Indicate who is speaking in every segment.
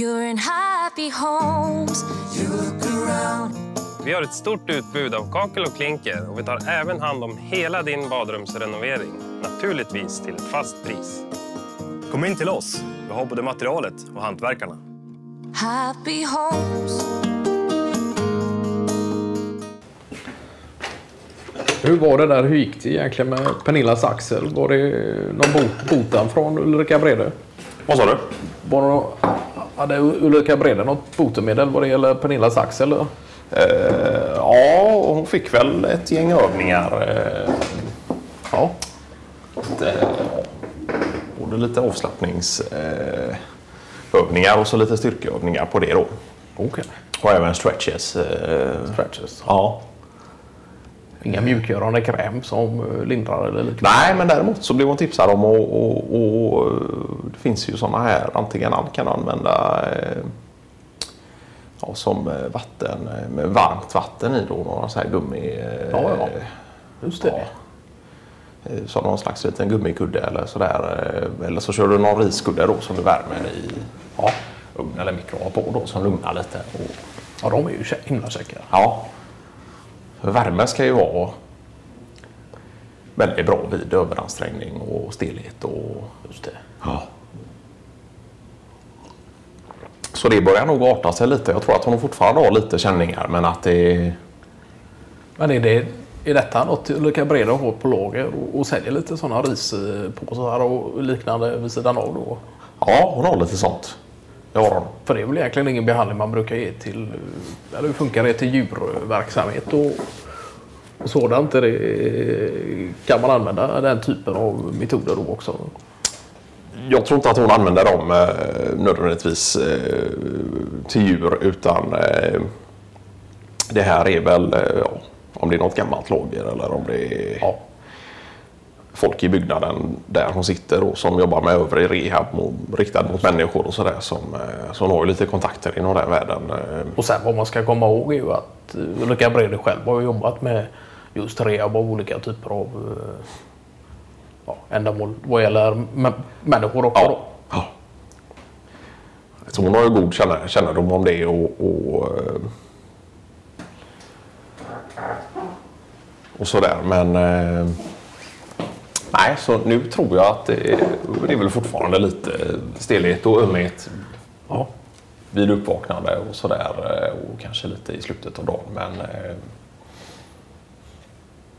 Speaker 1: You're in happy homes. You look around.
Speaker 2: Vi har ett stort utbud av kakel och klinker och vi tar även hand om hela din badrumsrenovering. Naturligtvis till ett fast pris.
Speaker 3: Kom in till oss. Vi har både materialet och hantverkarna.
Speaker 1: Happy homes.
Speaker 4: Hur var det där? Hur gick det egentligen med Pernillas axel? Var det någon bot, botan från Ulrika Brede?
Speaker 3: Vad sa du?
Speaker 4: Var det någon, hade Ulrika Brede något botemedel vad det gäller Pernillas axel? eller?
Speaker 3: Eh, ja, och hon fick väl ett gäng övningar. Eh, ja. Lite, både lite avslappningsövningar eh, övningar och så lite styrkeövningar på det då.
Speaker 4: Okej.
Speaker 3: Och även stretches. Eh,
Speaker 4: Stretches.
Speaker 3: ja.
Speaker 4: Inga mjukgörande kräm som eh, lindrar eller liknande?
Speaker 3: Nej, men däremot så blev hon tipsad om att och, och, och, det finns ju sådana här. Antingen man kan använda eh, ja, som eh, vatten, eh, med varmt vatten i då, några så här gummi... eh,
Speaker 4: Ja, ja. Just det.
Speaker 3: eh, Som någon slags liten gummikudde eller sådär. eh, Eller så kör du någon riskudde då som du värmer i ja, ugn eller mikroa på då som lugnar lite. Och,
Speaker 4: Ja, de är ju kä- himla käcka.
Speaker 3: ja. Värme ska ju vara väldigt bra vid överansträngning och stelhet och
Speaker 4: Just det.
Speaker 3: Ja. Så det börjar nog arta sig lite. Jag tror att hon fortfarande har lite känningar men att det...
Speaker 4: Men är, det, är detta något Ulrika Brede har på lager och, och säljer lite sådana rispåsar och liknande vid sidan av då?
Speaker 3: Ja, hon har lite sånt. Det har hon.
Speaker 4: För det är väl egentligen ingen behandling man brukar ge till... eh, Eller hur funkar det till djurverksamhet och, och sådant? Är det, kan man använda den typen av metoder då också?
Speaker 3: Jag tror inte att hon använder dem eh, nödvändigtvis eh, till djur utan eh, det här är väl eh, ja, om det är något gammalt lager eller om det är
Speaker 4: Ja.
Speaker 3: folk i byggnaden där hon sitter och som jobbar med övrig rehab och riktad mot människor och sådär som, eh, som har ju lite kontakter inom den världen. eh,
Speaker 4: Och sen vad man ska komma ihåg är ju att eh, Ulrika Brede själv har ju jobbat med just rehab av olika typer av eh, ja, ändamål vad gäller mä- människor också. Då.
Speaker 3: Ja. Så hon har ju god känna- kännedom om det och, och, eh, och sådär. Men eh, nej, så nu tror jag att det är, det är väl fortfarande lite stelhet och ömhet
Speaker 4: Ja.
Speaker 3: vid uppvaknande och sådär. eh, Och kanske lite i slutet av dagen. Men eh,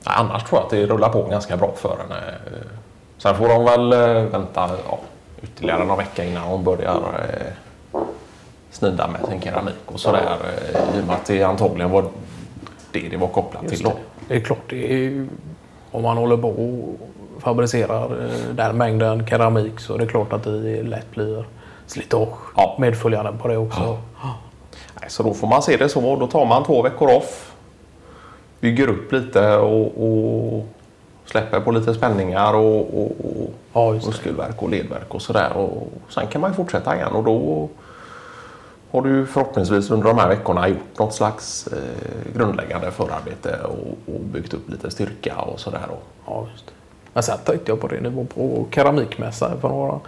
Speaker 3: nej, annars tror jag att det rullar på ganska bra för henne. Eh, Sen får hon väl eh, vänta ja, ytterligare någon vecka innan hon börjar eh, snida med sin keramik och sådär. eh, I och med att det antagligen var det det var kopplat till.
Speaker 4: Just
Speaker 3: Då.
Speaker 4: det. det är klart, det är, ju- om man håller på och fabricerar eh, den mängden keramik så är det klart att det lätt blir slitage
Speaker 3: Ja.
Speaker 4: medföljande på det också.
Speaker 3: Nej, så då får man se det så. Då tar man två veckor off. Bygger upp lite och, och släpper på lite spänningar och, och, och,
Speaker 4: Ja, just
Speaker 3: och
Speaker 4: det.
Speaker 3: skruverk och ledverk och sådär. Och sen kan man ju fortsätta igen och då har du ju förhoppningsvis under de här veckorna gjort något slags eh, grundläggande förarbete och, och byggt upp lite styrka och sådär. Och,
Speaker 4: Ja, just det. Men sen tänkte jag på det. Ni var på keramikmässa för några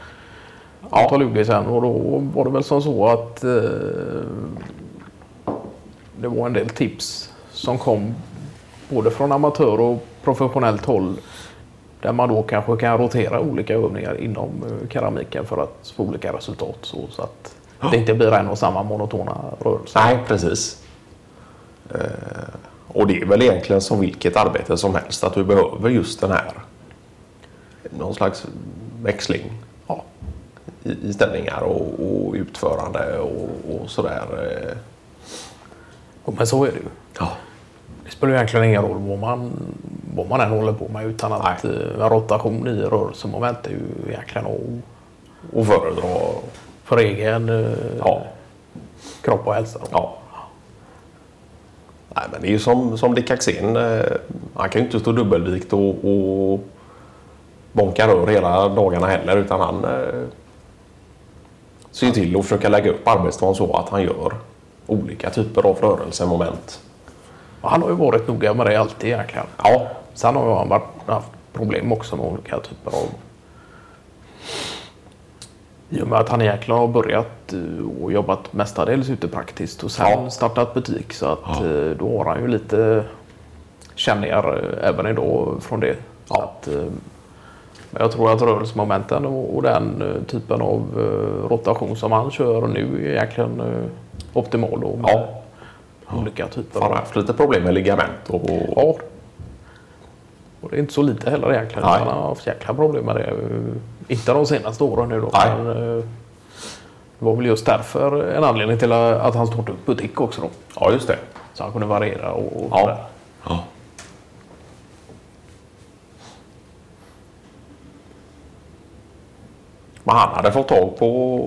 Speaker 4: antal UG sedan och då var det väl som så att eh, det var en del tips som kom både från amatör och professionellt håll där man då kanske kan rotera olika övningar inom eh, keramiken för att få olika resultat så, så att det inte blir en och samma monotona rörelse.
Speaker 3: Nej, precis. Eh, och det är väl egentligen som vilket arbete som helst att du behöver just den här någon slags växling
Speaker 4: Ja,
Speaker 3: i, i ställningar och, och utförande och, och sådär. eh.
Speaker 4: och men så är det ju.
Speaker 3: Ja.
Speaker 4: Det spelar ju egentligen ingen roll vad man, vad man än håller på med utan att
Speaker 3: Nej.
Speaker 4: eh, en rotation i rörelsemoment är ju egentligen av
Speaker 3: Och föredra.
Speaker 4: för egen eh,
Speaker 3: Ja.
Speaker 4: kropp och hälsa. då.
Speaker 3: ja. Nej, men det är ju som, som Dick Axén. eh, Han kan ju inte stå dubbelvikt och, och bonka rör hela dagarna heller utan han eh, ser ju till att försöka lägga upp arbetsdagen så att han gör olika typer av rörelsemoment.
Speaker 4: Och Han har ju varit noga med det alltid egentligen.
Speaker 3: Ja,
Speaker 4: Sen har ju han varit, haft problem också med olika typer av I och med att han egentligen har börjat eh, och jobbat mestadels ute praktiskt och sen
Speaker 3: Ja.
Speaker 4: startat butik så att
Speaker 3: Ja.
Speaker 4: eh, då har han ju lite känningar eh, även idag från det.
Speaker 3: Ja.
Speaker 4: Att, eh, men jag tror att rörelsemomenten och, och den eh, typen av eh, rotation som han kör nu är egentligen eh, optimal. Och med
Speaker 3: Ja.
Speaker 4: Olika typer
Speaker 3: Han har
Speaker 4: av...
Speaker 3: haft lite problem med ligament och, och
Speaker 4: Ja. Och det är inte så lite heller egentligen.
Speaker 3: Nej.
Speaker 4: Han har haft jäkla problem med det. eh, Inte de senaste åren nu då.
Speaker 3: Nej.
Speaker 4: Men, eh, det var väl just därför en anledning till att han startade upp butik också då.
Speaker 3: Ja, just det.
Speaker 4: Så han kunde variera och, och
Speaker 3: Ja.
Speaker 4: sådär.
Speaker 3: ja. Men han hade fått tag på...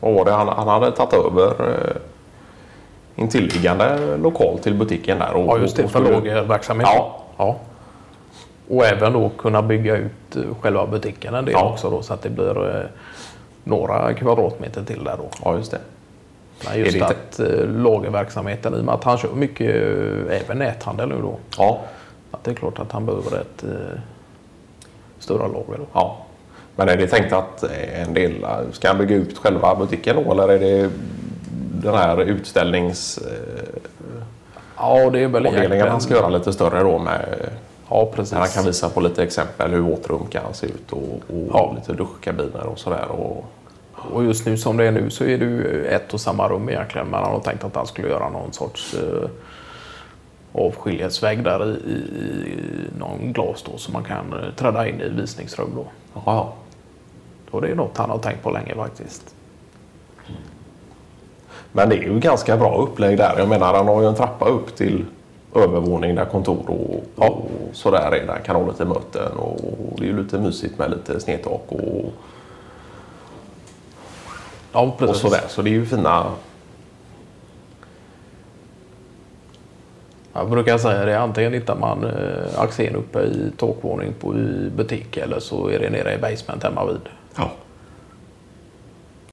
Speaker 3: Vad var det? Han, han hade tagit över eh, intilliggande lokal till butiken där. Och,
Speaker 4: Ja, just det.
Speaker 3: och
Speaker 4: För
Speaker 3: skulle-
Speaker 4: lagerverksamhet.
Speaker 3: Ja.
Speaker 4: ja. Och även då kunna bygga ut eh, själva butiken en del
Speaker 3: Ja.
Speaker 4: också då så att det blir eh, några kvadratmeter till där då.
Speaker 3: Ja, just det.
Speaker 4: Men just
Speaker 3: Är det inte-
Speaker 4: att eh, lagerverksamheten i och med att han kör mycket eh, även näthandel nu då.
Speaker 3: Ja,
Speaker 4: Att det är klart att han behöver ett eh, större lager. Då.
Speaker 3: ja. Men är det tänkt att eh, en del... Ska han bygga ut själva butiken då? Eller är det den här utställnings...
Speaker 4: Ja, det är väl
Speaker 3: avdelningen
Speaker 4: egentligen-
Speaker 3: han ska göra lite större då med...
Speaker 4: Ja, precis.
Speaker 3: Där han kan visa på lite exempel hur vårt rum kan se ut och, och
Speaker 4: Ja.
Speaker 3: lite duschkabiner och sådär. Och,
Speaker 4: Och just nu som det är nu så är det ju ett och samma rum egentligen. Men han har tänkt att han skulle göra någon sorts eh, avskiljesvägg där i, i, i någon glas då som man kan eh, träda in i visningsrum då.
Speaker 3: ja, ja.
Speaker 4: Och det är något han har tänkt på länge faktiskt.
Speaker 3: Men det är ju ganska bra upplägg där. Jag menar han har ju en trappa upp till övervåning där kontor och, och sådär är. Där han kan ha lite möten och, och det är ju lite mysigt med lite snedtak och,
Speaker 4: Ja,
Speaker 3: och
Speaker 4: precis.
Speaker 3: sådär. Så det är ju fina...
Speaker 4: Jag brukar säga det, antingen hittar man eh, axeln uppe i takvåning på i butik eller så är det nere i basement hemma vid.
Speaker 3: Ja.